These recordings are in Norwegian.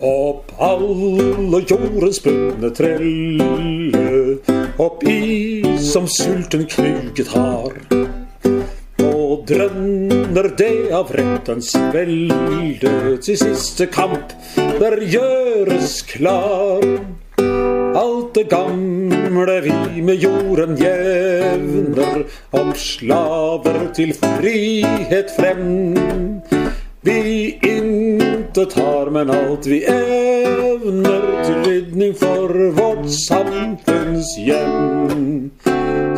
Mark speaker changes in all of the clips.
Speaker 1: Opp alle jordens bønder trelle, opp i som sulten knuget har. Nå drønner det av rettens velde til siste kamp der gjøres klar. Alt det gamle vi med jorden jevner, om slaver til frihet frem. Vi intet har, men alt vi evner til rydning for vårt samfunns hjem.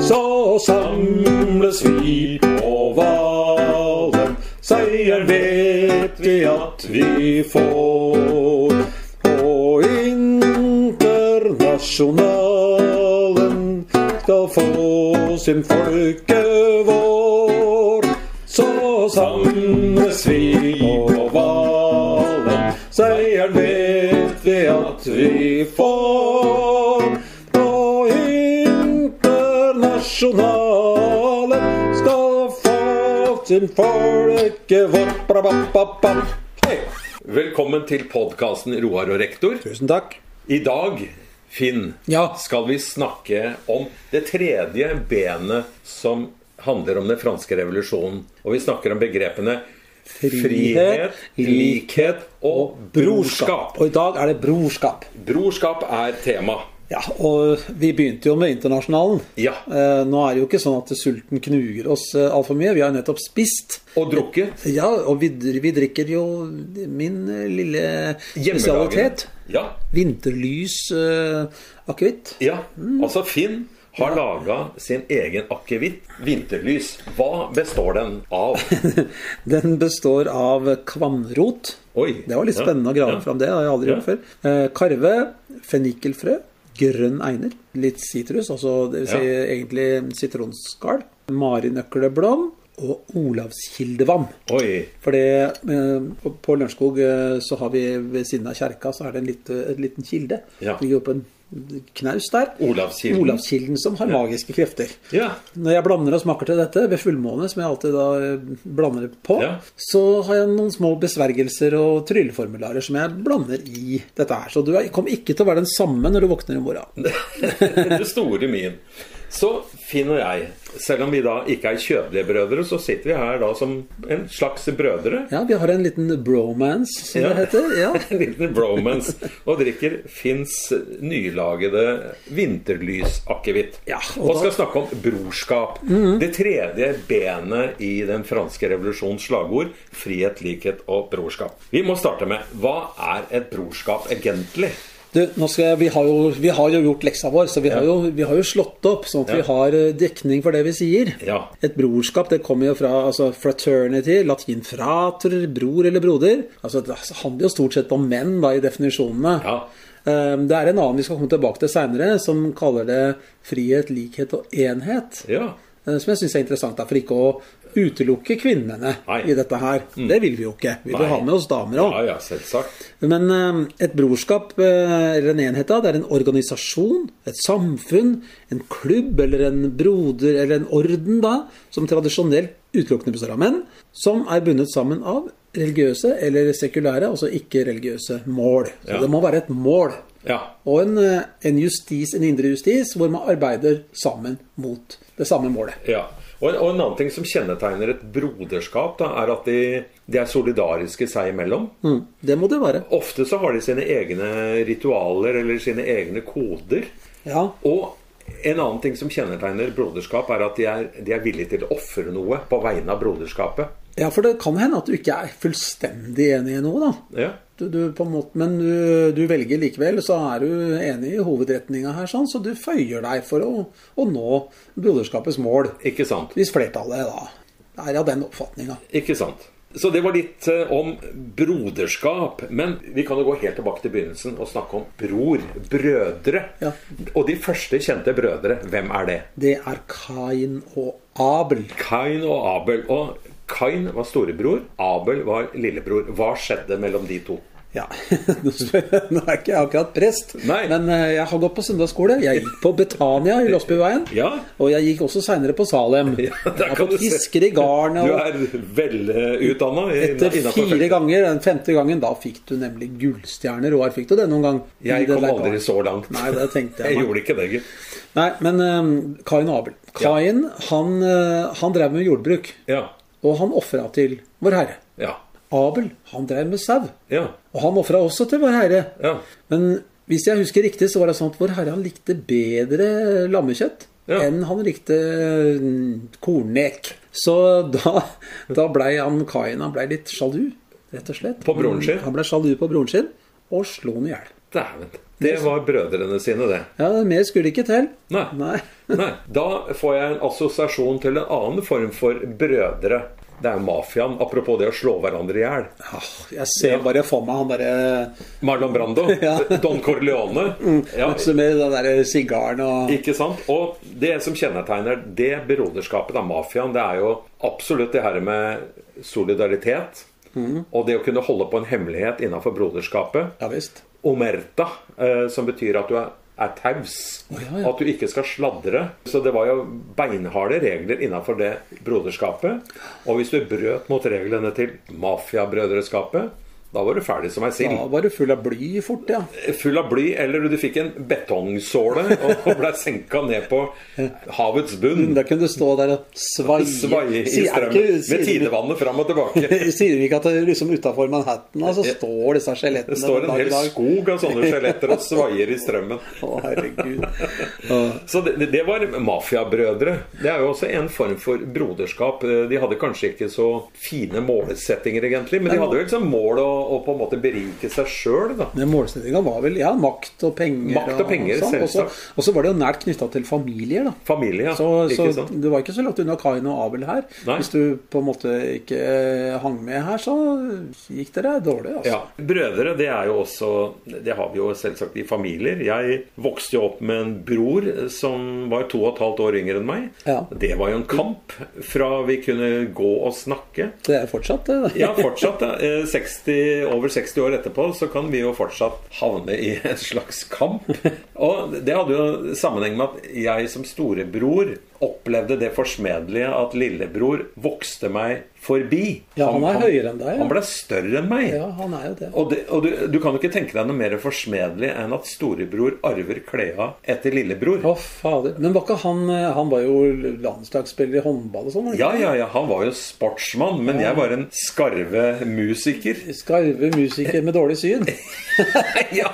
Speaker 1: Så samles vi på Valen, seieren vet vi at vi får. Og internasjonalen skal få sin folke vår. Så samles vi på Valen, seieren vet vi at vi får. Og internasjonale skal få sin folke vår. Ba-ba-ba-ba. Hei.
Speaker 2: Velkommen til podkasten Roar og rektor.
Speaker 1: Tusen takk.
Speaker 2: I dag, Finn,
Speaker 1: Ja.
Speaker 2: skal vi snakke om det tredje benet som handler om den franske revolusjonen. Og vi snakker om begrepene frihet, likhet og brorskap.
Speaker 1: Og i dag er det brorskap.
Speaker 2: Brorskap er tema.
Speaker 1: Ja, og vi begynte jo med internasjonalen.
Speaker 2: Ja.
Speaker 1: Eh, nå er det jo ikke sånn at sulten knuger oss eh, altfor mye. Vi har jo nettopp spist.
Speaker 2: Og drukket.
Speaker 1: Ja, og vi, dr- vi drikker jo min eh, lille spesialitet.
Speaker 2: Ja.
Speaker 1: Vinterlys eh, akevitt.
Speaker 2: ja. Altså, Finn har laga sin egen akevitt, vinterlys. Hva består den av?
Speaker 1: Den består av kvamrot.
Speaker 2: Oi.
Speaker 1: Det var litt
Speaker 2: Ja,
Speaker 1: spennende å grave
Speaker 2: ja.
Speaker 1: fram det. Det har jeg aldri
Speaker 2: Ja.
Speaker 1: gjort før. Eh, karve, fennikelfrø, grønn einer, litt sitrus, altså det vil si
Speaker 2: Ja.
Speaker 1: egentlig sitronskall, marinøkleblom og olavskildevann.
Speaker 2: Oi.
Speaker 1: For det, eh, på- på Lørenskog eh, så har vi ved siden av kjerka så er det en litt, en liten kilde.
Speaker 2: Ja.
Speaker 1: Det ligger oppe en knaus der.
Speaker 2: Olavskilden.
Speaker 1: Olavskilden som har magiske krefter.
Speaker 2: Ja.
Speaker 1: Når jeg blander og smaker til dette ved fullmåne, som jeg alltid da eh, blander det på,
Speaker 2: Ja.
Speaker 1: så har jeg noen små besvergelser og trylleformularer som jeg blander i dette her. Så du er- kommer ikke til å være den samme når du våkner i morgen.
Speaker 2: det store min. Så Finn og jeg, selv om vi da ikke er kjødelige brødre, så sitter vi her da som en slags brødre.
Speaker 1: Ja, vi har en liten bromance, som det heter. Ja.
Speaker 2: En liten bromance. Og drikker Finns nylagede vinterlysakevitt.
Speaker 1: Ja,
Speaker 2: og,
Speaker 1: og da- Mhm.
Speaker 2: skal snakke om brorskap. Det tredje benet i den franske revolusjons slagord frihet, likhet og brorskap. Vi må starte med hva er et brorskap egentlig?
Speaker 1: Du, nå skal jeg, vi, har jo, vi har jo gjort leksa vår, så vi har jo, vi har jo slått opp, sånn at vi har eh, dekning for det vi sier.
Speaker 2: Ja.
Speaker 1: Et brorskap det kommer jo fra altså fraternity, latin frater, bror eller broder. Altså, Det handler jo stort sett om menn da, i definisjonene.
Speaker 2: Ja.
Speaker 1: Eh, Det er en annen vi skal komme tilbake til seinere, som kaller det frihet, likhet og enhet.
Speaker 2: Ja.
Speaker 1: Eh, Som jeg syns er interessant, da, for ikke å utelukke kvinnene
Speaker 2: Nei. Mm.
Speaker 1: i dette her. Det vil vi jo ikke. Vi vil
Speaker 2: Nei.
Speaker 1: ha med oss damer òg.
Speaker 2: Ja, ja, selvsagt.
Speaker 1: Men eh, et brorskap, eh, eller en enhet, da, det er en organisasjon, et samfunn, en klubb eller en broder eller en orden, da, som tradisjonelt utelukkende består av menn, som er bundet sammen av religiøse eller sekulære, altså ikke-religiøse mål. Så
Speaker 2: Ja.
Speaker 1: det må være et mål.
Speaker 2: Ja.
Speaker 1: Og en, eh, en justis, en indre justis, hvor man arbeider sammen mot det samme målet.
Speaker 2: Ja, og en, og en annen ting som kjennetegner et broderskap, da, er at de, de er solidariske seg imellom.
Speaker 1: Mm, det må det være.
Speaker 2: Ofte så har de sine egne ritualer eller sine egne koder.
Speaker 1: Ja.
Speaker 2: Og en annen ting som kjennetegner broderskap, er at de er, de er villige til å ofre noe på vegne av broderskapet.
Speaker 1: ja, for det kan hende at du ikke er fullstendig enig i noe, da.
Speaker 2: Ja.
Speaker 1: du, du på en måte, men du, du velger likevel, så er du enig i hovedretninga her, sånn, så du føyer deg for å, å nå broderskapets mål.
Speaker 2: Ikke sant?
Speaker 1: Hvis flertallet da er av den oppfatninga.
Speaker 2: Ikke sant? Så det var litt eh, om broderskap. Men vi kan jo gå helt tilbake til begynnelsen og snakke om bror. Brødre.
Speaker 1: Ja.
Speaker 2: Og de første kjente brødre, hvem er det?
Speaker 1: Det er Kain og Abel.
Speaker 2: Kain og Abel. Og Kain var storebror, Abel var lillebror. Hva skjedde mellom de to?
Speaker 1: Ja, Nå spør jeg- nå er ikke jeg akkurat prest,
Speaker 2: Nei.
Speaker 1: men eh, jeg har gått på søndagsskole. Jeg gikk på Betania i Låsbyveien,
Speaker 2: Ja.
Speaker 1: og jeg gikk også seinere på Salem.
Speaker 2: Ja,
Speaker 1: jeg har fått fisker i garnet,
Speaker 2: Du
Speaker 1: og
Speaker 2: er velutdanna.
Speaker 1: etter fire ganger, den femte gangen, da fikk du nemlig gullstjerne. Roar, fikk du det noen gang? I
Speaker 2: Jeg
Speaker 1: det
Speaker 2: kom
Speaker 1: der
Speaker 2: aldri
Speaker 1: garnet.
Speaker 2: så langt.
Speaker 1: Nei, det tenkte jeg
Speaker 2: Jeg
Speaker 1: meg.
Speaker 2: gjorde ikke det, gitt.
Speaker 1: Nei, men eh, Kain og Abel. Kain, han, eh, han drev med jordbruk,
Speaker 2: Ja.
Speaker 1: og han ofra til Vår Herre.
Speaker 2: Ja.
Speaker 1: Abel, han drev med sau,
Speaker 2: Ja.
Speaker 1: og han ofra også til Vår Herre.
Speaker 2: Ja.
Speaker 1: Men hvis jeg husker riktig, så var det sånn at Vår Herre han likte bedre lammekjøtt
Speaker 2: Ja.
Speaker 1: enn han likte mm, kornek. Så da, da blei han Kain han ble litt sjalu, rett og slett.
Speaker 2: På broren sin?
Speaker 1: Han blei sjalu på broren sin, og slo han i hjel.
Speaker 2: Dæven. Det var brødrene sine, det.
Speaker 1: Ja, mer skulle ikke til.
Speaker 2: Nei.
Speaker 1: Nei.
Speaker 2: Nei. Da får jeg en assosiasjon til en annen form for brødre. Det er mafiaen. Apropos det å slå hverandre i hjel.
Speaker 1: Ah, jeg ser bare for meg han derre
Speaker 2: Marlon Brando.
Speaker 1: Ja. Mm.
Speaker 2: Don Corleone. Ja,
Speaker 1: Også med den der sigaren og
Speaker 2: ikke sant? Og det som kjennetegner det broderskapet av mafiaen, det er jo absolutt det her med solidaritet.
Speaker 1: Mhm.
Speaker 2: Og det å kunne holde på en hemmelighet innafor broderskapet.
Speaker 1: Ja visst.
Speaker 2: Omerta, eh, som betyr at du er, er taus.
Speaker 1: ja, ja.
Speaker 2: At du ikke skal sladre. Så det var jo beinharde regler innafor det broderskapet. Og hvis du brøt mot reglene til mafiabrødreskapet, da var du ferdig som ei sild.
Speaker 1: Da var du full av bly fort, ja.
Speaker 2: Full av bly, eller du fikk en betongsåle og ble senka ned på havets bunn.
Speaker 1: Da kunne du stå der og svaie
Speaker 2: Svaie i
Speaker 1: Sier- er
Speaker 2: strømmen
Speaker 1: ikke- sier-
Speaker 2: med tidevannet fram og tilbake.
Speaker 1: Sier vi ikke at det er liksom utafor Manhattan altså, står disse skjelettene
Speaker 2: Det
Speaker 1: den
Speaker 2: står en
Speaker 1: dag i
Speaker 2: hel
Speaker 1: dag?
Speaker 2: skog av sånne skjeletter og svaier i strømmen.
Speaker 1: Å, herregud.
Speaker 2: Så det, det var mafiabrødre. Det er jo også en form for broderskap. Eh, De hadde kanskje ikke så fine målsettinger, egentlig, men de hadde jo et sånt mål å, å på en måte berike seg sjøl, da.
Speaker 1: Men målsettinga var vel ja, makt og penger.
Speaker 2: Makt og penger,
Speaker 1: sånn. Og så-
Speaker 2: selvsagt.
Speaker 1: Og så var det jo nært knytta til familier, da.
Speaker 2: Familie,
Speaker 1: Så,
Speaker 2: ikke
Speaker 1: så
Speaker 2: sant?
Speaker 1: det var ikke så langt unna Kain og Abel her.
Speaker 2: Nei.
Speaker 1: Hvis du på en måte ikke eh, hang med her, så gikk det deg dårlig. Altså.
Speaker 2: Ja. Brødre, det er jo også Det har vi jo selvsagt i familier. Jeg vokste jo opp med en bror som var to og et halvt år yngre enn meg.
Speaker 1: Ja.
Speaker 2: Det var jo en kamp fra vi kunne gå og snakke.
Speaker 1: Det er fortsatt det.
Speaker 2: Ja, fortsatt. da. Eh, 60, over 60 år etterpå så kan vi jo fortsatt havne i en slags kamp. Og det hadde jo sammenheng med at jeg som storebror opplevde det forsmedelige at lillebror vokste meg forbi.
Speaker 1: Ja, han er høyere enn deg, ja.
Speaker 2: Han ble større enn meg.
Speaker 1: Ja, han er jo det.
Speaker 2: Og, det, og du, du kan jo ikke tenke deg noe mer forsmedelig enn at storebror arver klærne etter lillebror.
Speaker 1: Å, fader. Men var ikke han eh, Han var jo landslagsspiller i håndball og sånn? var han ikke?
Speaker 2: Ja, ja, ja, han var jo sportsmann, men jeg var en skarve musiker.
Speaker 1: Skarve musiker med dårlig syn.
Speaker 2: ja,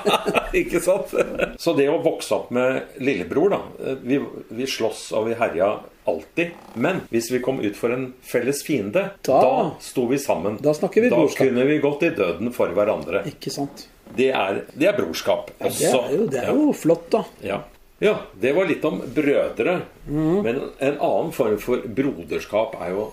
Speaker 2: ikke sant? Så det å vokse opp med lillebror, da Vi, vi slåss og vi herja alltid. Men hvis vi kom ut for en felles fiende, da,
Speaker 1: Da-
Speaker 2: sto vi sammen.
Speaker 1: Da snakker vi
Speaker 2: da
Speaker 1: brorskap.
Speaker 2: kunne vi gått i døden for hverandre.
Speaker 1: Ikke sant?
Speaker 2: Det er, det er brorskap også.
Speaker 1: Det er jo, det er jo flott, da.
Speaker 2: Ja. ja, det var litt om brødre. Men en annen form for broderskap er jo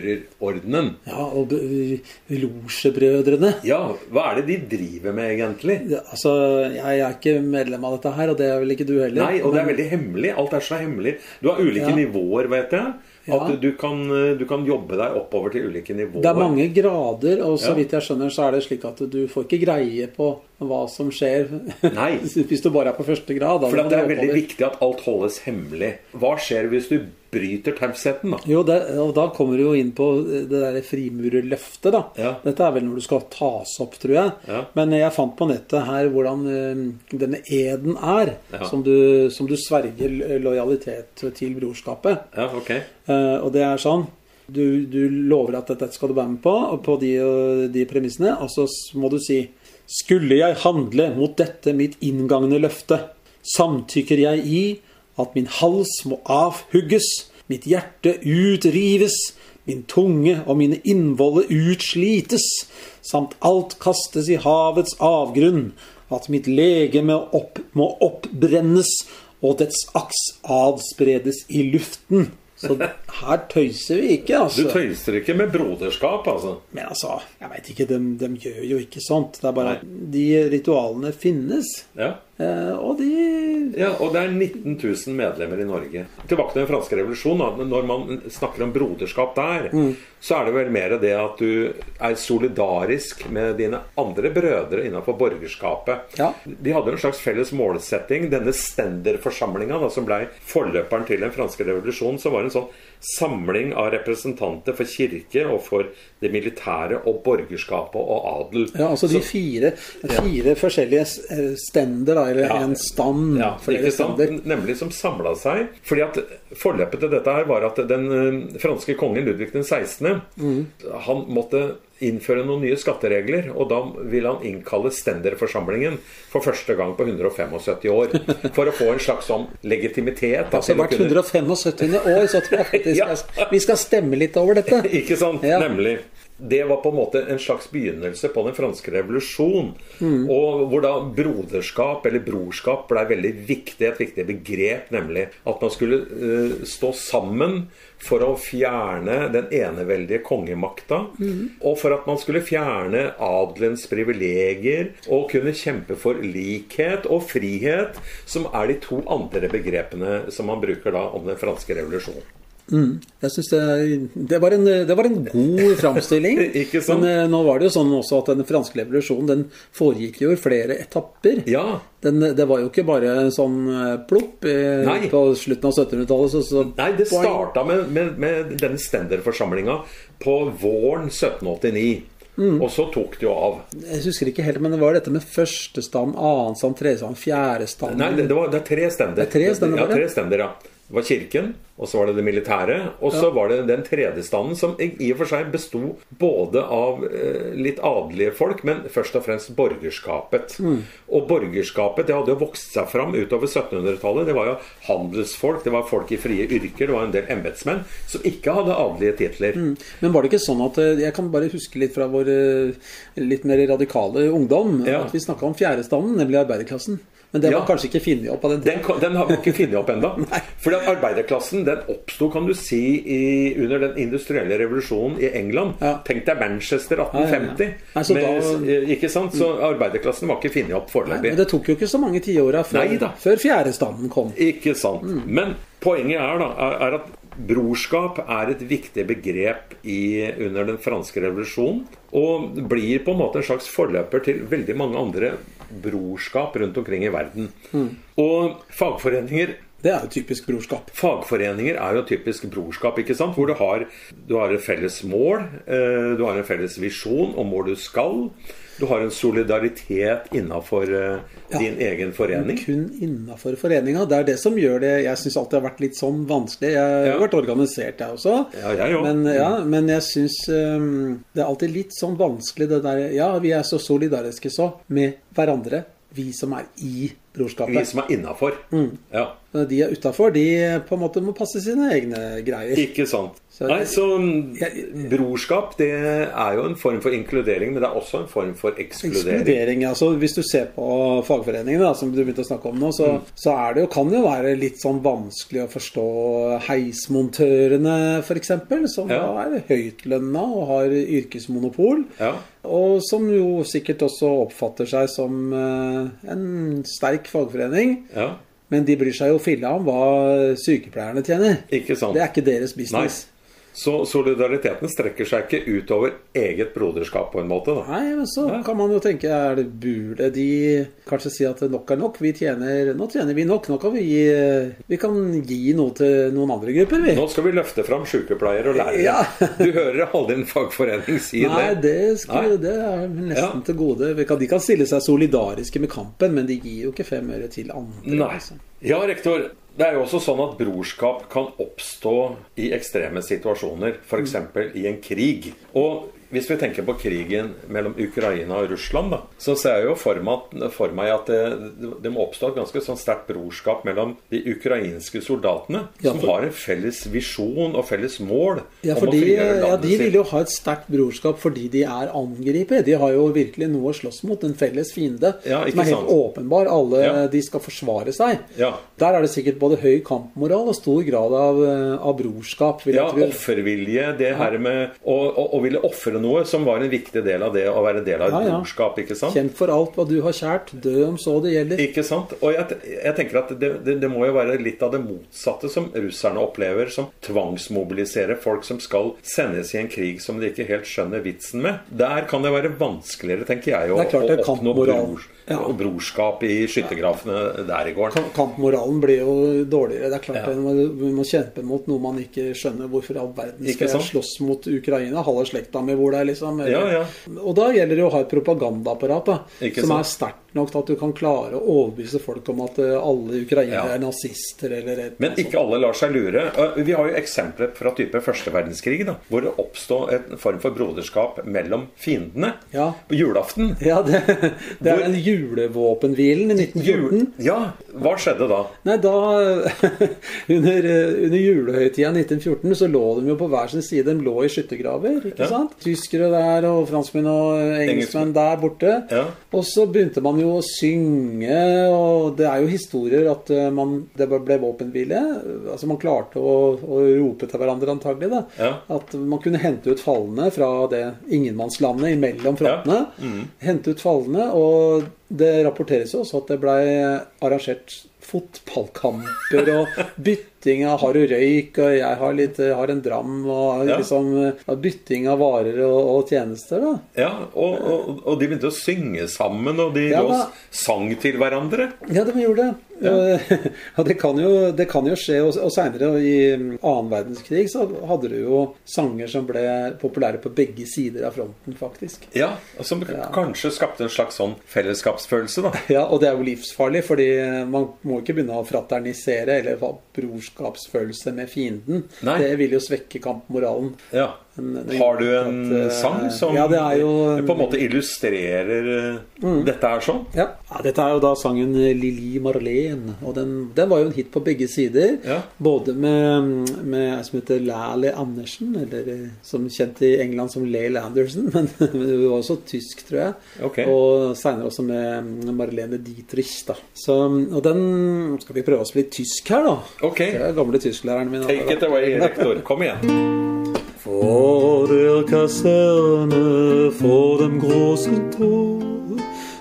Speaker 2: frimurerordenen.
Speaker 1: Ja, og b- Losjebrødrene.
Speaker 2: Ja, hva er det de driver med, egentlig?
Speaker 1: Ja, Altså, jeg er ikke medlem av dette her, og det er vel ikke du heller.
Speaker 2: Nei, og det er veldig hemmelig. Alt er så hemmelig. Du har ulike
Speaker 1: Ja. um, Eh, sånn, altså. Eh,
Speaker 2: altså. Ja, og det er 19 000 medlemmer i Norge. Tilbake til den franske revolusjonen. da. Men Når man snakker om broderskap der,
Speaker 1: Mm.
Speaker 2: så er det vel mer det at du er solidarisk med dine andre brødre innenfor borgerskapet.
Speaker 1: Ja.
Speaker 2: De hadde en slags felles målsetting. Denne stenderforsamlinga, da, som ble forløperen til den franske revolusjonen, som var en sånn samling av representanter for kirke og for det militære og borgerskapet og adel.
Speaker 1: Ja, altså de fire, fire forskjellige eh, stender, da, eller
Speaker 2: Ja.
Speaker 1: en stand.
Speaker 2: Ja,
Speaker 1: flere
Speaker 2: ikke sant?
Speaker 1: stender.
Speaker 2: Nemlig som samla seg. Fordi at Forløpet til dette her var at den eh, franske kongen Ludvig den 16. Han måtte innføre noen nye skatteregler, og da ville han innkalle stenderforsamlingen for første gang på 175 år. For å få en slags sånn legitimitet. da,
Speaker 1: Altså
Speaker 2: til å
Speaker 1: hvert
Speaker 2: kunne-
Speaker 1: 175. år så tror jeg faktisk
Speaker 2: Ja.
Speaker 1: jeg- vi skal stemme litt over dette.
Speaker 2: Ikke sant?
Speaker 1: Ja.
Speaker 2: Nemlig. Det var på en måte en slags begynnelse på den franske revolusjon. Og hvor da broderskap, eller brorskap, blei veldig viktig, et viktig begrep, nemlig. At man skulle eh, stå sammen for å fjerne den eneveldige kongemakta. Og for at man skulle fjerne adelens privilegier. Og kunne kjempe for likhet og frihet, som er de to andre begrepene som man bruker da om den franske revolusjonen.
Speaker 1: Jeg synes det, det, var en, det var en god framstilling.
Speaker 2: Ikke sant?
Speaker 1: Men eh, nå var det jo sånn også at den franske revolusjonen den foregikk jo i flere etapper.
Speaker 2: Ja.
Speaker 1: Den, det var jo ikke bare sånn eh, plopp eh,
Speaker 2: Nei.
Speaker 1: på slutten av 1700-tallet. Så, så,
Speaker 2: Nei, det
Speaker 1: Boing.
Speaker 2: starta med, med, med denne stenderforsamlinga på våren 1789.
Speaker 1: Mm.
Speaker 2: Og så tok det jo av.
Speaker 1: Jeg husker ikke helt, men det var dette med første stand, annen stand, tredje stand, fjerde stand.
Speaker 2: Nei, det, det, var, det er tre stender.
Speaker 1: Det er tre stender
Speaker 2: ja,
Speaker 1: bare?
Speaker 2: tre stender, ja. Det var kirken, og så var det det militære, og så var det den tredje standen, som i i og for seg besto både av eh, litt adelige folk, men først og fremst borgerskapet.
Speaker 1: Mm.
Speaker 2: Og borgerskapet det hadde jo vokst seg fram utover 1700-tallet. Det var jo handelsfolk, det var folk i frie yrker, det var en del embetsmenn som ikke hadde adelige titler.
Speaker 1: Men var det ikke sånn at eh, Jeg kan bare huske litt fra vår eh, litt mer radikale ungdom
Speaker 2: Ja.
Speaker 1: at vi snakka om fjerdestanden, nemlig arbeiderklassen. Men det var
Speaker 2: Ja.
Speaker 1: kanskje ikke funnet opp av den
Speaker 2: Den, kom- den har vi ikke funnet opp ennå. Fordi at arbeiderklassen den oppsto kan du si, i, under den industrielle revolusjonen i England.
Speaker 1: Ja.
Speaker 2: Tenk deg Manchester
Speaker 1: Ja,
Speaker 2: 1850.
Speaker 1: ja, ja. Nei, så Mm.
Speaker 2: med, ikke sant? så arbeiderklassen var ikke funnet opp
Speaker 1: Men
Speaker 2: foreløpig.
Speaker 1: det tok jo ikke så mange tiåra før,
Speaker 2: Neida.
Speaker 1: før fjerdestanden kom.
Speaker 2: Ikke sant.
Speaker 1: Mm.
Speaker 2: Men poenget er, da, er- er at brorskap er et viktig begrep i, under den franske revolusjonen. Og blir på en måte en slags forløper til veldig mange andre brorskap rundt omkring i verden.
Speaker 1: Mm.
Speaker 2: Og fagforeninger
Speaker 1: Det er jo typisk brorskap.
Speaker 2: Fagforeninger er jo typisk brorskap, ikke sant? hvor du har, du har et felles mål, eh, du har en felles visjon om hvor du skal. Du har en solidaritet innafor eh, din egen forening.
Speaker 1: Kun innafor foreninga. Det er det som gjør det Jeg syns alltid har vært litt sånn vanskelig. Jeg har
Speaker 2: Ja.
Speaker 1: vært organisert, jeg også.
Speaker 2: Ja, jeg òg.
Speaker 1: men, ja, men jeg syns det er alltid litt sånn vanskelig det der Ja, vi er så solidariske så med hverandre, vi som er i brorskapet.
Speaker 2: Vi som er innafor.
Speaker 1: Mm.
Speaker 2: Ja.
Speaker 1: Men De er utafor, de på en måte må passe sine egne greier.
Speaker 2: Ikke sant.
Speaker 1: Så-
Speaker 2: Nei, så
Speaker 1: Jeg-
Speaker 2: brorskap det er jo en form for inkludering, men det er også en form for ekskludering.
Speaker 1: Ekskludering, altså Hvis du ser på fagforeningene, da, som du begynte å snakke om nå, så,
Speaker 2: Mm.
Speaker 1: så er det jo, kan det jo være litt sånn vanskelig å forstå heismontørene, f.eks., som
Speaker 2: Ja.
Speaker 1: da er høytlønna og har yrkesmonopol.
Speaker 2: Ja.
Speaker 1: Og som jo sikkert også oppfatter seg som eh, en sterk fagforening.
Speaker 2: Ja.
Speaker 1: Men de bryr seg jo filla om hva sykepleierne tjener.
Speaker 2: Ikke sant.
Speaker 1: Det er ikke deres
Speaker 2: Nei.
Speaker 1: business.
Speaker 2: Så solidariteten strekker seg ikke utover eget broderskap, på en måte. da.
Speaker 1: Nei, men så kan man jo tenke er det burde de kanskje si at nok er nok? Vi tjener, nå tjener vi nok. Nå kan vi gi, vi kan gi noe til noen andre grupper, vi.
Speaker 2: Nå skal vi løfte fram sykepleiere og lærere.
Speaker 1: Ja.
Speaker 2: du hører aldri en fagforening si
Speaker 1: Nei,
Speaker 2: det.
Speaker 1: det, skulle, det er nesten
Speaker 2: Ja.
Speaker 1: til gode. Vi kan, de kan stille seg solidariske med kampen, men de gir jo ikke fem øre til andre.
Speaker 2: Nei.
Speaker 1: liksom.
Speaker 2: Ja, rektor. Det er jo også sånn at brorskap kan oppstå i ekstreme situasjoner,
Speaker 1: Mm.
Speaker 2: f.eks. i en krig. Og hvis vi tenker på krigen mellom Ukraina og Russland, da, så ser jeg jo for meg at, for meg at det, det må oppstå et ganske sånn sterkt brorskap mellom de ukrainske soldatene,
Speaker 1: Ja,
Speaker 2: som
Speaker 1: for-
Speaker 2: har en felles visjon og felles mål
Speaker 1: Ja,
Speaker 2: om å
Speaker 1: fordi,
Speaker 2: frigjøre
Speaker 1: ja,
Speaker 2: landet
Speaker 1: De vil
Speaker 2: sitt.
Speaker 1: jo ha et sterkt brorskap fordi de er angripere. De har jo virkelig noe å slåss mot. En felles fiende
Speaker 2: Ja, ikke
Speaker 1: som er helt
Speaker 2: sant?
Speaker 1: åpenbar. Alle
Speaker 2: Ja.
Speaker 1: De skal forsvare seg.
Speaker 2: Ja.
Speaker 1: Der er det sikkert både høy kampmoral og stor grad av, eh, av brorskap. Vil
Speaker 2: Ja,
Speaker 1: jeg tro.
Speaker 2: offervilje, det her med å, å, å ville ofre utføre noe som var en viktig del av det å være del av et
Speaker 1: Ja, ja.
Speaker 2: brorskap. ikke sant?
Speaker 1: Kjemp for alt hva du har kjært, dø om så det gjelder.
Speaker 2: Ikke sant? Og jeg, te- jeg tenker at det, det, det må jo være litt av det motsatte som russerne opplever, som tvangsmobiliserer folk som skal sendes i en krig som de ikke helt skjønner vitsen med. Der kan det være vanskeligere, tenker jeg, å,
Speaker 1: Det er klart
Speaker 2: å
Speaker 1: det er
Speaker 2: oppnå
Speaker 1: kampmoral.
Speaker 2: brors,
Speaker 1: Ja.
Speaker 2: og brorskap i skyttergravene der i gården.
Speaker 1: Kam- Kampmoralen blir jo dårligere. Det er klart
Speaker 2: Ja.
Speaker 1: det, man, man kjemper mot noe man ikke skjønner. Hvorfor i all verden
Speaker 2: Ikke
Speaker 1: skal jeg
Speaker 2: sant?
Speaker 1: slåss mot Ukraina? Halve slekta mi hvor det er, liksom.
Speaker 2: Ja, ja.
Speaker 1: Og da gjelder det å ha et propagandaapparat da,
Speaker 2: Ikke
Speaker 1: som
Speaker 2: sant?
Speaker 1: er sterkt nok til at du kan klare å overbevise folk om at eh, alle ukrainere
Speaker 2: Ja.
Speaker 1: er nazister eller et
Speaker 2: Men ikke alle lar seg lure. Eh, Vi har jo eksempler fra type første verdenskrig, da, hvor det oppstod en form for broderskap mellom fiendene
Speaker 1: Ja.
Speaker 2: på julaften.
Speaker 1: Ja, det, det er
Speaker 2: Hvor-
Speaker 1: den julevåpenhvilen i 1914.
Speaker 2: Ja, hva skjedde da?
Speaker 1: Nei, da under, eh, under julehøytida 1914 så lå de jo på hver sin side. De lå i skyttergraver. ikke
Speaker 2: Ja.
Speaker 1: sant? Tyskere der og franskmenn og engelskmenn der borte.
Speaker 2: Ja.
Speaker 1: Og så begynte man jo å synge, og det er jo historier at eh, man, det ble våpenhvile. Altså man klarte å, å rope til hverandre antagelig, da.
Speaker 2: Ja.
Speaker 1: At man kunne hente ut falne fra det ingenmannslandet imellom frontene.
Speaker 2: Mm.
Speaker 1: Hente ut falne, og det rapporteres jo også at det blei arrangert fotballkamper og bytting av har du røyk, og jeg har, litt, eh, har en dram, og
Speaker 2: Ja.
Speaker 1: liksom eh, bytting av varer og, og tjenester, da.
Speaker 2: Ja, og, og, og de begynte å synge sammen, og de
Speaker 1: Ja,
Speaker 2: lå
Speaker 1: da-
Speaker 2: og sang til hverandre.
Speaker 1: Ja, de gjorde det. Eh, Ja, det, kan jo, det kan jo skje. Og, og seinere, i annen verdenskrig, så hadde du jo sanger som ble populære på begge sider av fronten, faktisk.
Speaker 2: Ja, Som kanskje skapte en slags sånn fellesskapsfølelse, da.
Speaker 1: Ja, Og det er jo livsfarlig, fordi man må ikke begynne å fraternisere eller ha brorskapsfølelse med fienden.
Speaker 2: Nei.
Speaker 1: Det vil jo svekke kampmoralen.
Speaker 2: Ja.
Speaker 1: Men det-
Speaker 2: Har du en
Speaker 1: at, eh,
Speaker 2: sang som
Speaker 1: ja, det er jo- eh, Mm.
Speaker 2: på en måte illustrerer eh, dette her sånn?
Speaker 1: Ja. ja, Dette er jo da sangen Lili Marlene, og den, den var jo en hit på begge sider.
Speaker 2: Ja.
Speaker 1: Både med, med en som heter Lally Andersen, eller eh, som kjent i England som Lail Anderson, men, men hun var også tysk, tror jeg.
Speaker 2: Ok.
Speaker 1: Og seinere også med Marlene Dietrich, da. Så, og den skal vi prøve oss litt tysk her, da.
Speaker 2: Ok.
Speaker 1: Det er gamle tysklæreren min.
Speaker 2: Take it away, rektor. Kom igjen.
Speaker 1: Vor der Kaserne, vor dem großen Tor,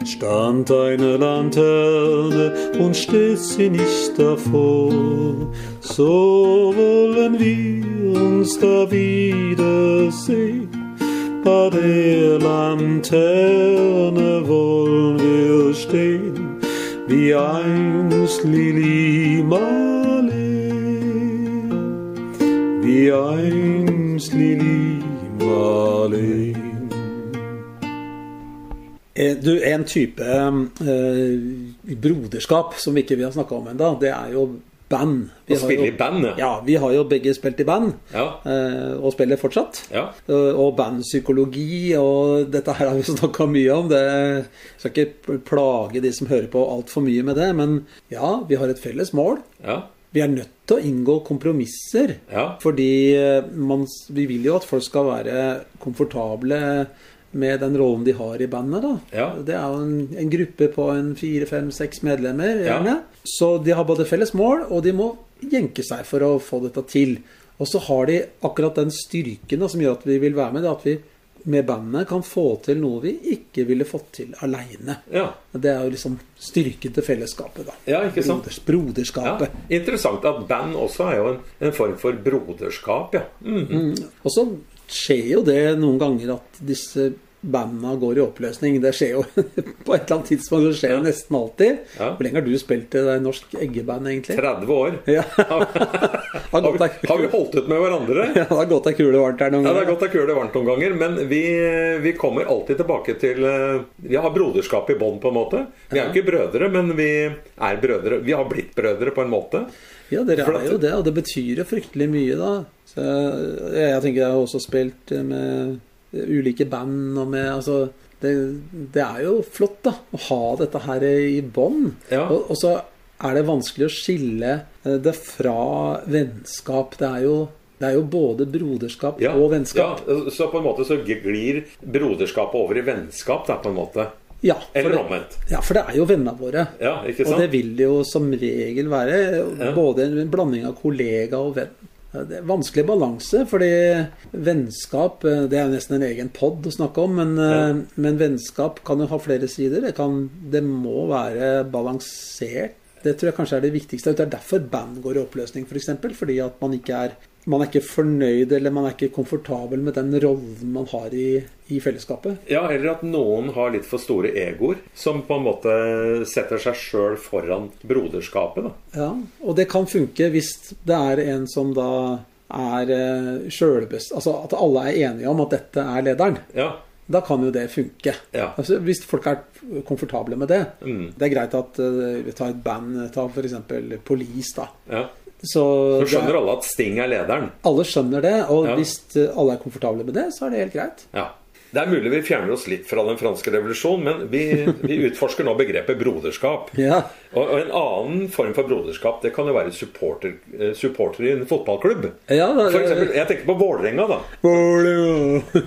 Speaker 1: stand eine Lanterne und stellt sie nicht davor. So wollen wir uns da wiedersehen. Bei der Lanterne wollen wir stehen, wie einst Lili Marleen wie einst Lili Marleen. Du, en type ehm, eh, broderskap som vi ikke vi har snakka om ennå, det er jo band. Vi
Speaker 2: Å
Speaker 1: har
Speaker 2: spille
Speaker 1: jo-
Speaker 2: i band, ja.
Speaker 1: Ja, vi har jo begge spilt i band.
Speaker 2: Ja.
Speaker 1: eh, Og spiller fortsatt.
Speaker 2: Ja.
Speaker 1: Eh, Og bandpsykologi og dette her har vi snakka mye om. Det skal ikke plage de som hører på altfor mye med det, men ja, vi har et felles mål.
Speaker 2: Ja.
Speaker 1: Vi er nødt til å inngå kompromisser.
Speaker 2: Ja.
Speaker 1: Fordi eh, man, s- vi vil jo at folk skal være komfortable med den rollen de har i bandet. da.
Speaker 2: Ja.
Speaker 1: Det er jo en, en gruppe på en fire, fem, seks medlemmer.
Speaker 2: Ja.
Speaker 1: gjerne. Så de har både felles mål, og de må jenke seg for å få dette til. Og så har de akkurat den styrken da, som gjør at vi vil være med. Det er at vi med bandet kan få til noe vi ikke ville fått til aleine.
Speaker 2: ja.
Speaker 1: Det er jo liksom styrken til fellesskapet, da.
Speaker 2: Ja, ikke sant?
Speaker 1: Broders,
Speaker 2: ja.
Speaker 1: broderskapet.
Speaker 2: Interessant at band også er jo en, en form for broderskap, ja. Mm.
Speaker 1: Og så skjer jo det noen ganger at disse banda går i oppløsning. Det skjer jo på et eller annet tidspunkt. Det skjer det nesten alltid.
Speaker 2: Ja.
Speaker 1: Hvor lenge har du spilt i det norsk eggeband, egentlig?
Speaker 2: 30 år.
Speaker 1: Ja.
Speaker 2: har,
Speaker 1: gått
Speaker 2: vi,
Speaker 1: deg-
Speaker 2: har vi holdt ut med hverandre?
Speaker 1: Ja, det har gått ei kule varmt her noen
Speaker 2: Ja, Det er
Speaker 1: ganger.
Speaker 2: godt å kule det varmt noen ganger, men vi, vi kommer alltid tilbake til eh, Vi har broderskap i bånd, på en måte. Vi er jo ikke brødre, men vi er brødre. Vi har blitt brødre, på en måte.
Speaker 1: Ja, dere
Speaker 2: For
Speaker 1: er
Speaker 2: at-
Speaker 1: jo det, og det betyr jo fryktelig mye, da. Så jeg, jeg tenker jeg har også spilt eh, med ulike band og med Altså, det, det er jo flott, da. Å ha dette her i bånn.
Speaker 2: Ja.
Speaker 1: Og, og så er det vanskelig å skille eh, det fra vennskap. Det er jo, det er jo både broderskap
Speaker 2: Ja,
Speaker 1: og vennskap.
Speaker 2: ja, eh, så på en måte så glir broderskapet over i vennskap, da, på en måte.
Speaker 1: Ja, for
Speaker 2: Eller
Speaker 1: det-
Speaker 2: omvendt.
Speaker 1: Ja, for det er jo vennene våre.
Speaker 2: Ja, ikke
Speaker 1: Og
Speaker 2: sant?
Speaker 1: det vil det jo som regel være.
Speaker 2: Ja.
Speaker 1: Både en blanding av kollega og venn. Det er vanskelig balanse, fordi vennskap eh, det er jo nesten en egen pod å snakke om. Men, eh, men vennskap kan jo ha flere sider. Det, kan, det må være balansert. Det tror jeg kanskje er det viktigste. Det er derfor band går i oppløsning, f.eks. Fordi at man ikke er man er ikke fornøyd eller man er ikke komfortabel med den rollen man har i, i fellesskapet.
Speaker 2: Ja, eller at noen har litt for store egoer, som på en måte setter seg sjøl foran broderskapet. da.
Speaker 1: Ja, og det kan funke hvis det er en som da er eh, sjølbest... Altså at alle er enige om at dette er lederen.
Speaker 2: Ja,
Speaker 1: Da kan jo det funke.
Speaker 2: Ja. Mm.
Speaker 1: Altså, hvis folk er komfortable med det. Det er greit at eh, vi tar et band, ta f.eks. Police, da.
Speaker 2: ja.
Speaker 1: Så,
Speaker 2: Så
Speaker 1: det
Speaker 2: skjønner
Speaker 1: er,
Speaker 2: alle at Sting er lederen.
Speaker 1: alle skjønner det, og
Speaker 2: Ja.
Speaker 1: hvis eh, alle er komfortable med det, så er det helt greit.
Speaker 2: Ja. Det er mulig vi fjerner oss litt fra den franske revolusjonen, men vi, vi utforsker nå begrepet broderskap.
Speaker 1: Ja.
Speaker 2: Og, og en annen form for broderskap det kan jo være supporter, eh, supportere i en fotballklubb.
Speaker 1: Ja, det-
Speaker 2: for eksempel, jeg tenker på Vålerenga, da.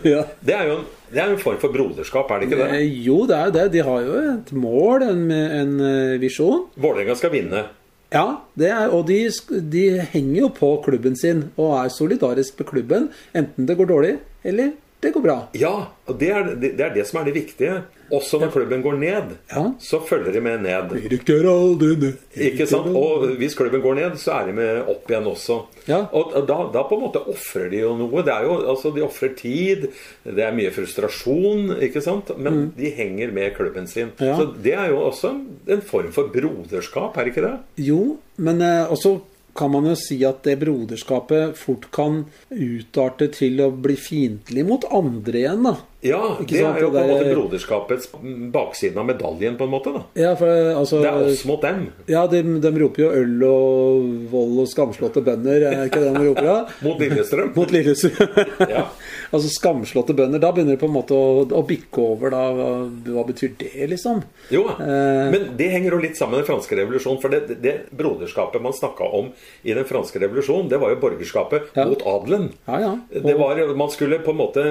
Speaker 1: ja.
Speaker 2: Det er jo en, det er jo en form for broderskap, er det ikke det?
Speaker 1: Eh, Jo, det er jo det. De har jo et mål, en, en eh, visjon.
Speaker 2: Vålerenga skal vinne.
Speaker 1: Ja, det er, og de, sk- de henger jo på klubben sin og er solidarisk med klubben, enten det går dårlig eller det går bra.
Speaker 2: Ja, og det er det, det er det som er det viktige. Også når klubben går ned,
Speaker 1: Ja.
Speaker 2: så følger de med ned.
Speaker 1: Rykker aldri ned.
Speaker 2: Ikke sant? Og hvis klubben går ned, så er de med opp igjen også.
Speaker 1: Ja.
Speaker 2: Og da, da på en måte ofrer de jo noe. Det er jo, altså, de ofrer tid, det er mye frustrasjon, ikke sant? men de henger med klubben sin.
Speaker 1: Mm. Ja.
Speaker 2: Så det er jo også en form for broderskap, er det ikke det?
Speaker 1: Jo, men eh, også kan man jo si at det broderskapet fort kan utarte til å bli fiendtlig mot andre igjen, da.
Speaker 2: Ja,
Speaker 1: Ikke
Speaker 2: det
Speaker 1: sant?
Speaker 2: er jo på
Speaker 1: Det
Speaker 2: en måte
Speaker 1: der-
Speaker 2: broderskapets baksiden av medaljen, på en måte. da.
Speaker 1: Ja, for eh, altså
Speaker 2: Det er oss mot dem.
Speaker 1: Ja, de, de roper jo øl og vold og skamslåtte bønder, er det ikke det de roper? da?
Speaker 2: Mot Lillestrøm.
Speaker 1: Mot Lillestrøm.
Speaker 2: Ja.
Speaker 1: Altså skamslåtte bønder. Da begynner det på en måte å, å bikke over, da. Hva- Hva betyr det, liksom?
Speaker 2: Jo,
Speaker 1: Eh.
Speaker 2: men det henger jo litt sammen med den franske revolusjonen. For det, det broderskapet man snakka om i den franske revolusjonen, det var jo borgerskapet
Speaker 1: Ja.
Speaker 2: mot adelen.
Speaker 1: Ja, ja.
Speaker 2: Det var, man skulle på en måte,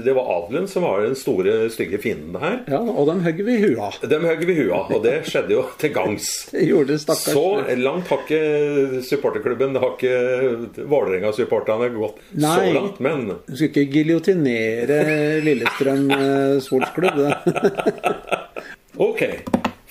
Speaker 2: det var adelen som var den store, stygge fienden her.
Speaker 1: Ja, og dem hogger vi i hua.
Speaker 2: Dem høgg vi hua, og det skjedde jo til gangs.
Speaker 1: Det gjorde stakkars
Speaker 2: Så langt har ikke supporterklubben, har ikke Vålerenga-supporterne gått så
Speaker 1: Nei.
Speaker 2: langt. Men
Speaker 1: Du skulle ikke giljotinere Lillestrøm eh, sportsklubb. det.
Speaker 2: ok,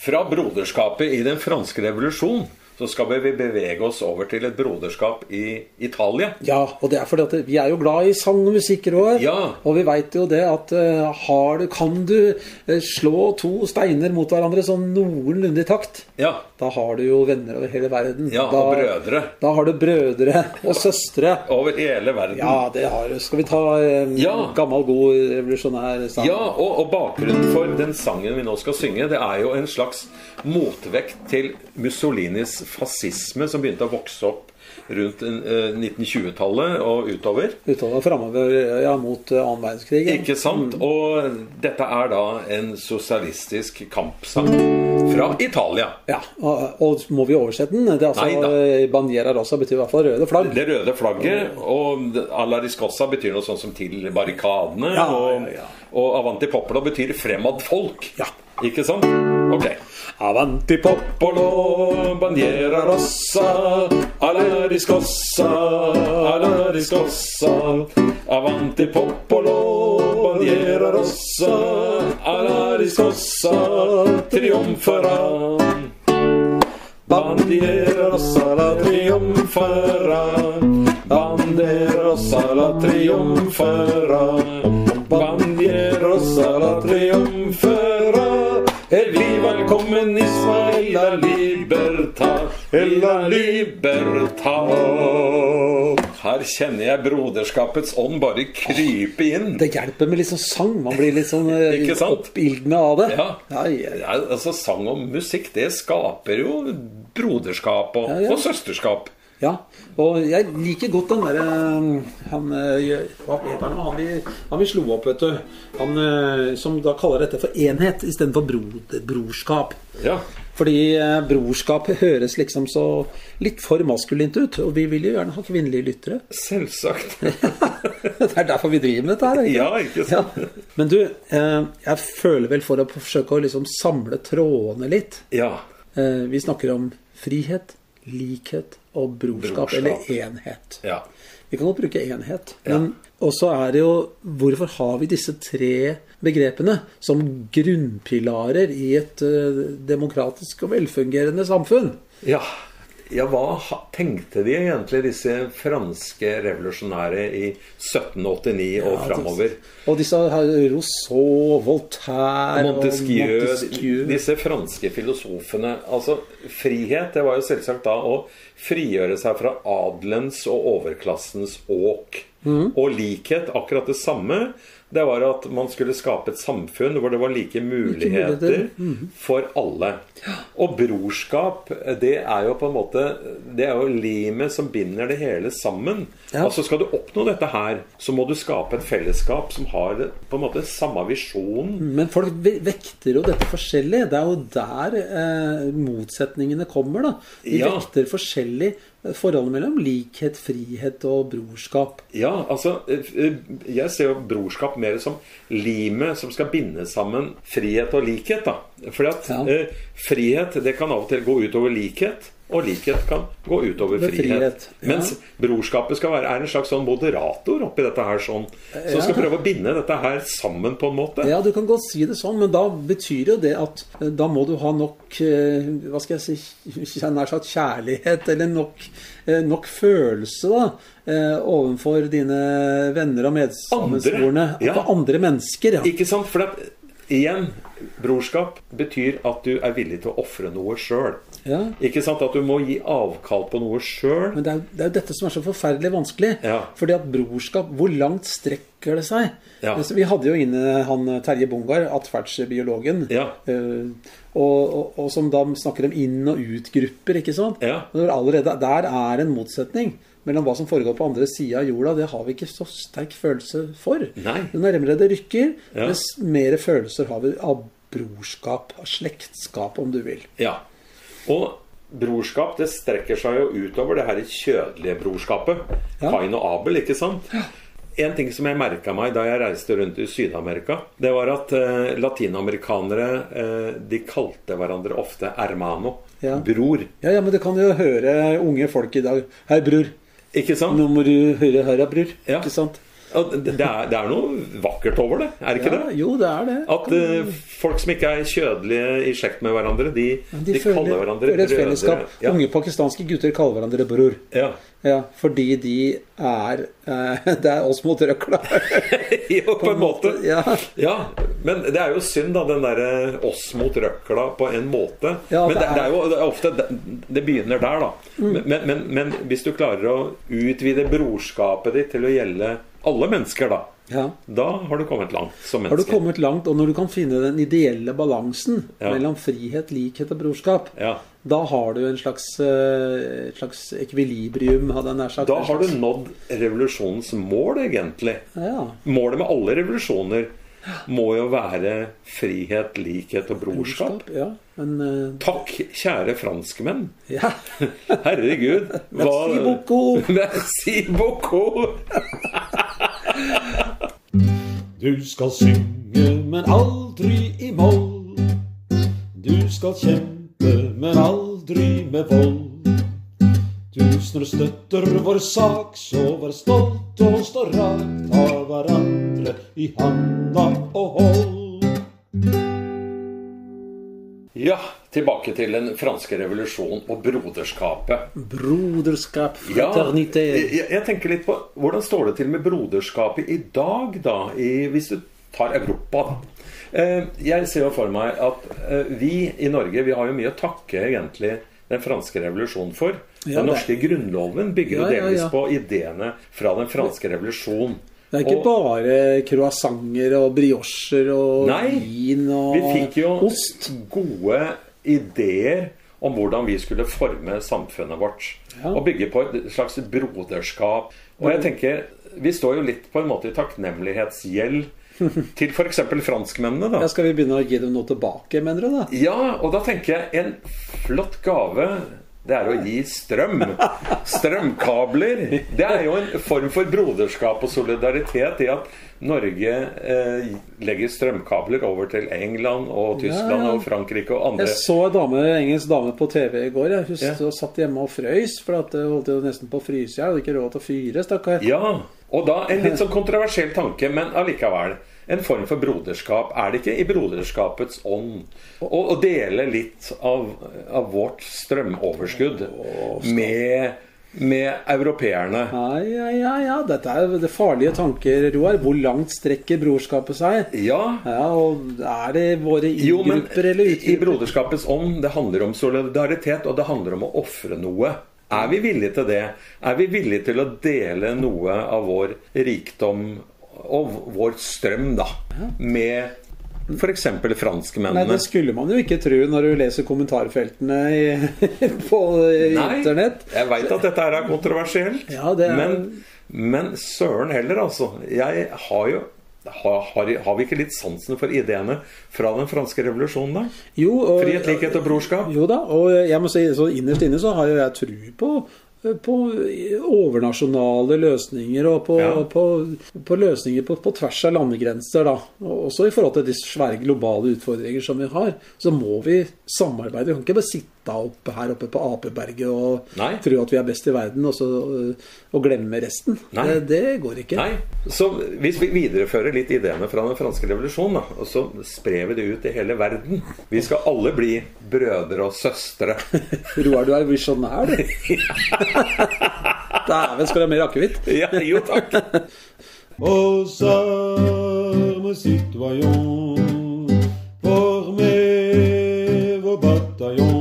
Speaker 2: fra broderskapet i den franske revolusjon så skal vi bevege oss over til et broderskap i Italia.
Speaker 1: Ja, og det er fordi at vi er jo glad i sang og musikk, Roar.
Speaker 2: Ja.
Speaker 1: Og vi veit jo det at eh, har du, kan du eh, slå to steiner mot hverandre sånn noenlunde i takt,
Speaker 2: Ja,
Speaker 1: da har du jo venner over hele verden.
Speaker 2: Ja,
Speaker 1: da,
Speaker 2: og brødre.
Speaker 1: Da har du brødre og søstre.
Speaker 2: over hele verden.
Speaker 1: Ja, det har du. Skal vi ta en
Speaker 2: Ja.
Speaker 1: gammel, god revolusjonær sang?
Speaker 2: Ja, og, og bakgrunnen for den sangen vi nå skal synge, det er jo en slags motvekt til Mussolinis fascisme som begynte å vokse opp rundt eh, 1920-tallet og utover.
Speaker 1: Uttalen framover ja, mot eh, annen verdenskrig. ja.
Speaker 2: Ikke sant? Og dette er da en sosialistisk kampsang fra Italia.
Speaker 1: Ja, og, og må vi oversette den? Det er altså,
Speaker 2: Nei da.
Speaker 1: eh, Bandiera rosa betyr i hvert fall røde flagg.
Speaker 2: Det røde flagget og alla riscossa betyr noe sånn som til barrikadene.
Speaker 1: Ja,
Speaker 2: og,
Speaker 1: ja, ja.
Speaker 2: og avanti popolo betyr fremad folk.
Speaker 1: Ja.
Speaker 2: Ikke sant? Ok.
Speaker 1: Avanti pop!
Speaker 2: Popolo, bandiera rossa, alla riscossa, alla riscossa. Avanti popolo, bandiera rossa, alla riscossa, trionferà. Bandiera rossa la trionferà, bandiera rossa la trionferà. Bandiera rossa la trionferà e viva il comunismo e la libertà e la libertà Her kjenner jeg broderskapets ånd bare krype inn.
Speaker 1: Det hjelper med litt sånn sang. Man blir litt sånn eh,
Speaker 2: Ikke sant?
Speaker 1: oppildnet av det.
Speaker 2: Ja.
Speaker 1: Ja, ja, ja.
Speaker 2: Ja, altså Sang og musikk det skaper jo broderskap og,
Speaker 1: ja.
Speaker 2: og søsterskap.
Speaker 1: Ja, og jeg liker godt den derre Han eh, gjør- Hva heter han? Han vi, han vi slo opp, vet du. Han eh, som da kaller dette for enhet istedenfor bro, brorskap.
Speaker 2: Ja.
Speaker 1: Fordi eh, brorskap høres liksom så litt for maskulint ut. Og vi vil jo gjerne ha kvinnelige lyttere.
Speaker 2: Selvsagt.
Speaker 1: det er derfor vi driver med dette her. ikke?
Speaker 2: Ja, ikke
Speaker 1: Ja.
Speaker 2: sant?
Speaker 1: Men du, eh, jeg føler vel for å forsøke å liksom samle trådene litt.
Speaker 2: Ja.
Speaker 1: Eh, Vi snakker om frihet, likhet, og brorskap,
Speaker 2: Brorskap.
Speaker 1: eller enhet.
Speaker 2: Ja.
Speaker 1: Vi kan godt bruke enhet. Men også er det jo Hvorfor har vi disse tre begrepene som grunnpilarer i et eh, demokratisk og velfungerende samfunn?
Speaker 2: Ja. ja, hva ha- tenkte de egentlig, disse franske revolusjonære i 1789 og framover?
Speaker 1: Og disse her, Rousseau, Voltaire og
Speaker 2: Montesquieu,
Speaker 1: Montesquieu.
Speaker 2: disse franske filosofene Altså, frihet, det var jo selvsagt da å frigjøre seg fra adelens og overklassens åk.
Speaker 1: Mhm.
Speaker 2: Og likhet, akkurat det samme. Det var at man skulle skape et samfunn hvor det var like muligheter
Speaker 1: muligheter. Mhm.
Speaker 2: for alle. Og brorskap, det er jo på en måte Det er jo limet som binder det hele sammen.
Speaker 1: Ja.
Speaker 2: Altså Skal du oppnå dette her, så må du skape et fellesskap som har på en måte samme visjon.
Speaker 1: Men folk ve- vekter jo dette forskjellig. Det er jo der eh, motsetningene kommer. da. De
Speaker 2: Ja.
Speaker 1: vekter forskjellig eh, forholdet mellom likhet, frihet og brorskap.
Speaker 2: Ja, altså eh, eh, Jeg ser jo brorskap mer som limet som skal binde sammen frihet og likhet. da Fordi at
Speaker 1: Ja.
Speaker 2: eh, frihet det kan av og til gå utover likhet, og likhet kan gå utover
Speaker 1: Med
Speaker 2: frihet.
Speaker 1: frihet, ja.
Speaker 2: Mens brorskapet skal være, er en slags sånn moderator oppi dette her sånn. Som
Speaker 1: Ja.
Speaker 2: skal prøve å binde dette her sammen på en måte.
Speaker 1: Ja, du kan godt si det sånn, men da betyr jo det at eh, da må du ha nok eh, Hva skal jeg si jeg Nær sagt kjærlighet, eller nok, eh, nok følelse, da. eh, Overfor dine venner og medsammensvorne.
Speaker 2: Andre, ja.
Speaker 1: For andre mennesker, ja.
Speaker 2: Ikke sant? For at, igjen, brorskap betyr at du er villig til å ofre noe sjøl.
Speaker 1: Ja.
Speaker 2: Ikke sant? At du må gi avkall på noe sjøl.
Speaker 1: Men det er, jo- det er jo dette som er så forferdelig vanskelig.
Speaker 2: Ja.
Speaker 1: Fordi at brorskap Hvor langt strekker det seg?
Speaker 2: Ja.
Speaker 1: Altså, Vi hadde jo inne han Terje Bongar, atferdsbiologen,
Speaker 2: Ja.
Speaker 1: eh, og, og, og som da snakker om inn- og ut-grupper, ikke sant?
Speaker 2: Ja.
Speaker 1: Og det var allerede, der er en motsetning mellom hva som foregår på andre sida av jorda. Det har vi ikke så sterk følelse for.
Speaker 2: Nei.
Speaker 1: Jo nærmere det rykker,
Speaker 2: Ja.
Speaker 1: dess mer følelser har vi av brorskap, av slektskap, om du vil.
Speaker 2: Ja. Og brorskap det strekker seg jo utover det her kjødelige brorskapet.
Speaker 1: Ja.
Speaker 2: Kain og Abel, ikke sant? En ting som jeg merka meg da jeg reiste rundt i Syd-Amerika, det var at eh, latinamerikanere eh, de kalte hverandre ofte hermano.
Speaker 1: Ja.
Speaker 2: Bror.
Speaker 1: Ja, ja, men du kan jo høre unge folk i dag. Hei, bror.
Speaker 2: Ikke sant?
Speaker 1: Nå må du høre her, ja, bror.
Speaker 2: Ja.
Speaker 1: Ikke sant?
Speaker 2: Og Det, det er, det er noe vakkert over det, er det ikke
Speaker 1: Ja,
Speaker 2: det?
Speaker 1: jo, det er det.
Speaker 2: At eh, folk som ikke er kjødelige i slekt med hverandre, de, de, kaller hverandre
Speaker 1: føler et
Speaker 2: brødre.
Speaker 1: fellesskap.
Speaker 2: Ja.
Speaker 1: Unge pakistanske gutter kaller hverandre bror.
Speaker 2: Ja.
Speaker 1: Ja, fordi de er eh, Det er oss mot røkla.
Speaker 2: jo, på en måte.
Speaker 1: Ja.
Speaker 2: Ja, men det er jo synd, da, den derre oss mot røkla på en måte.
Speaker 1: Ja,
Speaker 2: men det,
Speaker 1: det er- Mm.
Speaker 2: det er jo det er ofte det, det begynner der, da. Men, men, men hvis du klarer å utvide brorskapet ditt til å gjelde alle mennesker, da,
Speaker 1: ja.
Speaker 2: da har du kommet langt som
Speaker 1: Har du
Speaker 2: menneske.
Speaker 1: kommet langt, og når du kan finne den ideelle balansen
Speaker 2: Ja.
Speaker 1: mellom frihet, likhet og brorskap,
Speaker 2: Ja.
Speaker 1: da har du en slags, eh, et slags ekvilibrium, hadde jeg nær sagt.
Speaker 2: Da
Speaker 1: En
Speaker 2: har du
Speaker 1: slags-
Speaker 2: nådd revolusjonens mål, egentlig.
Speaker 1: ja.
Speaker 2: Målet med alle revolusjoner må jo være frihet, likhet og brorskap.
Speaker 1: Ja, men eh,
Speaker 2: Takk, kjære franskmenn.
Speaker 1: Ja.
Speaker 2: Herregud. hva-
Speaker 1: Merci beaucoup.
Speaker 2: Merci beaucoup.
Speaker 3: Du skal synge, men aldri i moll. Du skal kjempe, men aldri med vold. Tusener støtter vår sak, så vær stolt og stå rakt. Ta hverandre i handa og hold.
Speaker 2: Ja, tilbake til den franske revolusjon og broderskapet.
Speaker 1: Broderskap,
Speaker 2: Ja,
Speaker 1: fraternitet.
Speaker 2: jeg, jeg tenker litt på Hvordan står det til med broderskapet i dag, da? I, hvis du tar Europa, da. Eh, Jeg ser jo for meg at eh, vi i Norge vi har jo mye å takke egentlig den franske revolusjonen for.
Speaker 1: Ja,
Speaker 2: den
Speaker 1: det-
Speaker 2: norske grunnloven bygger jo
Speaker 1: Ja, ja,
Speaker 2: delvis
Speaker 1: ja.
Speaker 2: på ideene fra den franske revolusjon.
Speaker 1: Det er ikke
Speaker 2: Og-
Speaker 1: bare croissanter og briocher og
Speaker 2: Nei,
Speaker 1: vin og
Speaker 2: Vi fikk jo
Speaker 1: ost.
Speaker 2: gode ideer om hvordan vi skulle forme samfunnet vårt.
Speaker 1: Ja.
Speaker 2: Og bygge på et slags broderskap. Og jeg tenker, vi står jo litt på en måte i takknemlighetsgjeld til f.eks. franskmennene, da.
Speaker 1: Ja, skal vi begynne å gi dem noe tilbake, mener du da?
Speaker 2: Ja, og da tenker jeg en flott gave Det er å gi strøm. Strømkabler. Det er jo en form for broderskap og solidaritet i at Norge eh, legger strømkabler over til England og Tyskland
Speaker 1: Ja, ja.
Speaker 2: og Frankrike og andre.
Speaker 1: Jeg så en dame, en engelsk dame på TV i går. Jeg husker,
Speaker 2: Ja.
Speaker 1: og satt hjemme og frøys, for at det holdt jo nesten på å fryse. Jeg hadde ikke råd til å fyre, stakkar.
Speaker 2: Ja, og da en litt sånn kontroversiell tanke, men allikevel. En form for broderskap. Er det ikke i broderskapets ånd å, å dele litt av, av vårt strømoverskudd med, med europeerne?
Speaker 1: Ja, ja, ja, ja. Dette er det farlige tanker, Roar. Hvor langt strekker brorskapet seg?
Speaker 2: Ja,
Speaker 1: Ja, og Er det våre
Speaker 2: jo, men
Speaker 1: inngrupper eller
Speaker 2: i
Speaker 1: utgrupper?
Speaker 2: broderskapets ånd, det handler om solidaritet, og det handler om å ofre noe. Er vi villige til det? Er vi villige til å dele noe av vår rikdom og vår strøm, da, med f.eks.
Speaker 1: Nei,
Speaker 2: franskmennene?
Speaker 1: Det skulle man jo ikke tro når du leser kommentarfeltene i, på
Speaker 2: Nei,
Speaker 1: internett.
Speaker 2: Jeg veit at dette her er kontroversielt,
Speaker 1: Ja, det er-
Speaker 2: men, men søren heller, altså. Jeg har jo har, har, har vi ikke litt sansen for ideene fra den franske revolusjonen, da?
Speaker 1: Jo, og,
Speaker 2: Frihet, likhet og brorskap?
Speaker 1: Jo da, og jeg må si så innerst inne så har jo jeg tru på på overnasjonale løsninger og på,
Speaker 2: Ja.
Speaker 1: på, på løsninger på, på tvers av landegrenser. da. Og Også i forhold til de svære globale utfordringer som vi har. Så må vi samarbeide. Vi kan ikke bare sitte oppe her oppe på Apeberget og
Speaker 2: Nei.
Speaker 1: tro at vi er best i verden og, så, øh, og glemme resten.
Speaker 2: Nei.
Speaker 1: Det, det går ikke.
Speaker 2: Nei. Så hvis vi viderefører litt ideene fra den franske revolusjonen, da, og så sprer vi det ut i hele verden Vi skal alle bli brødre og søstre.
Speaker 1: Roar, du er visjonær, du. Dæven, skal du ha mer akevitt?
Speaker 2: Ja, jo takk.
Speaker 3: Aux armes, citoyens, formez vos bataillons.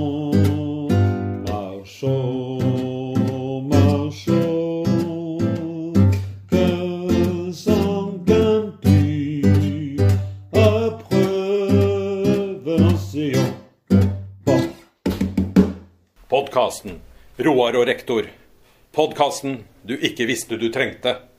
Speaker 3: Marchons, marchons, qu'un sanguin pur, appreuve l'océan. Bon.
Speaker 2: Podkasten Roar og rektor. Podkasten du ikke visste du trengte.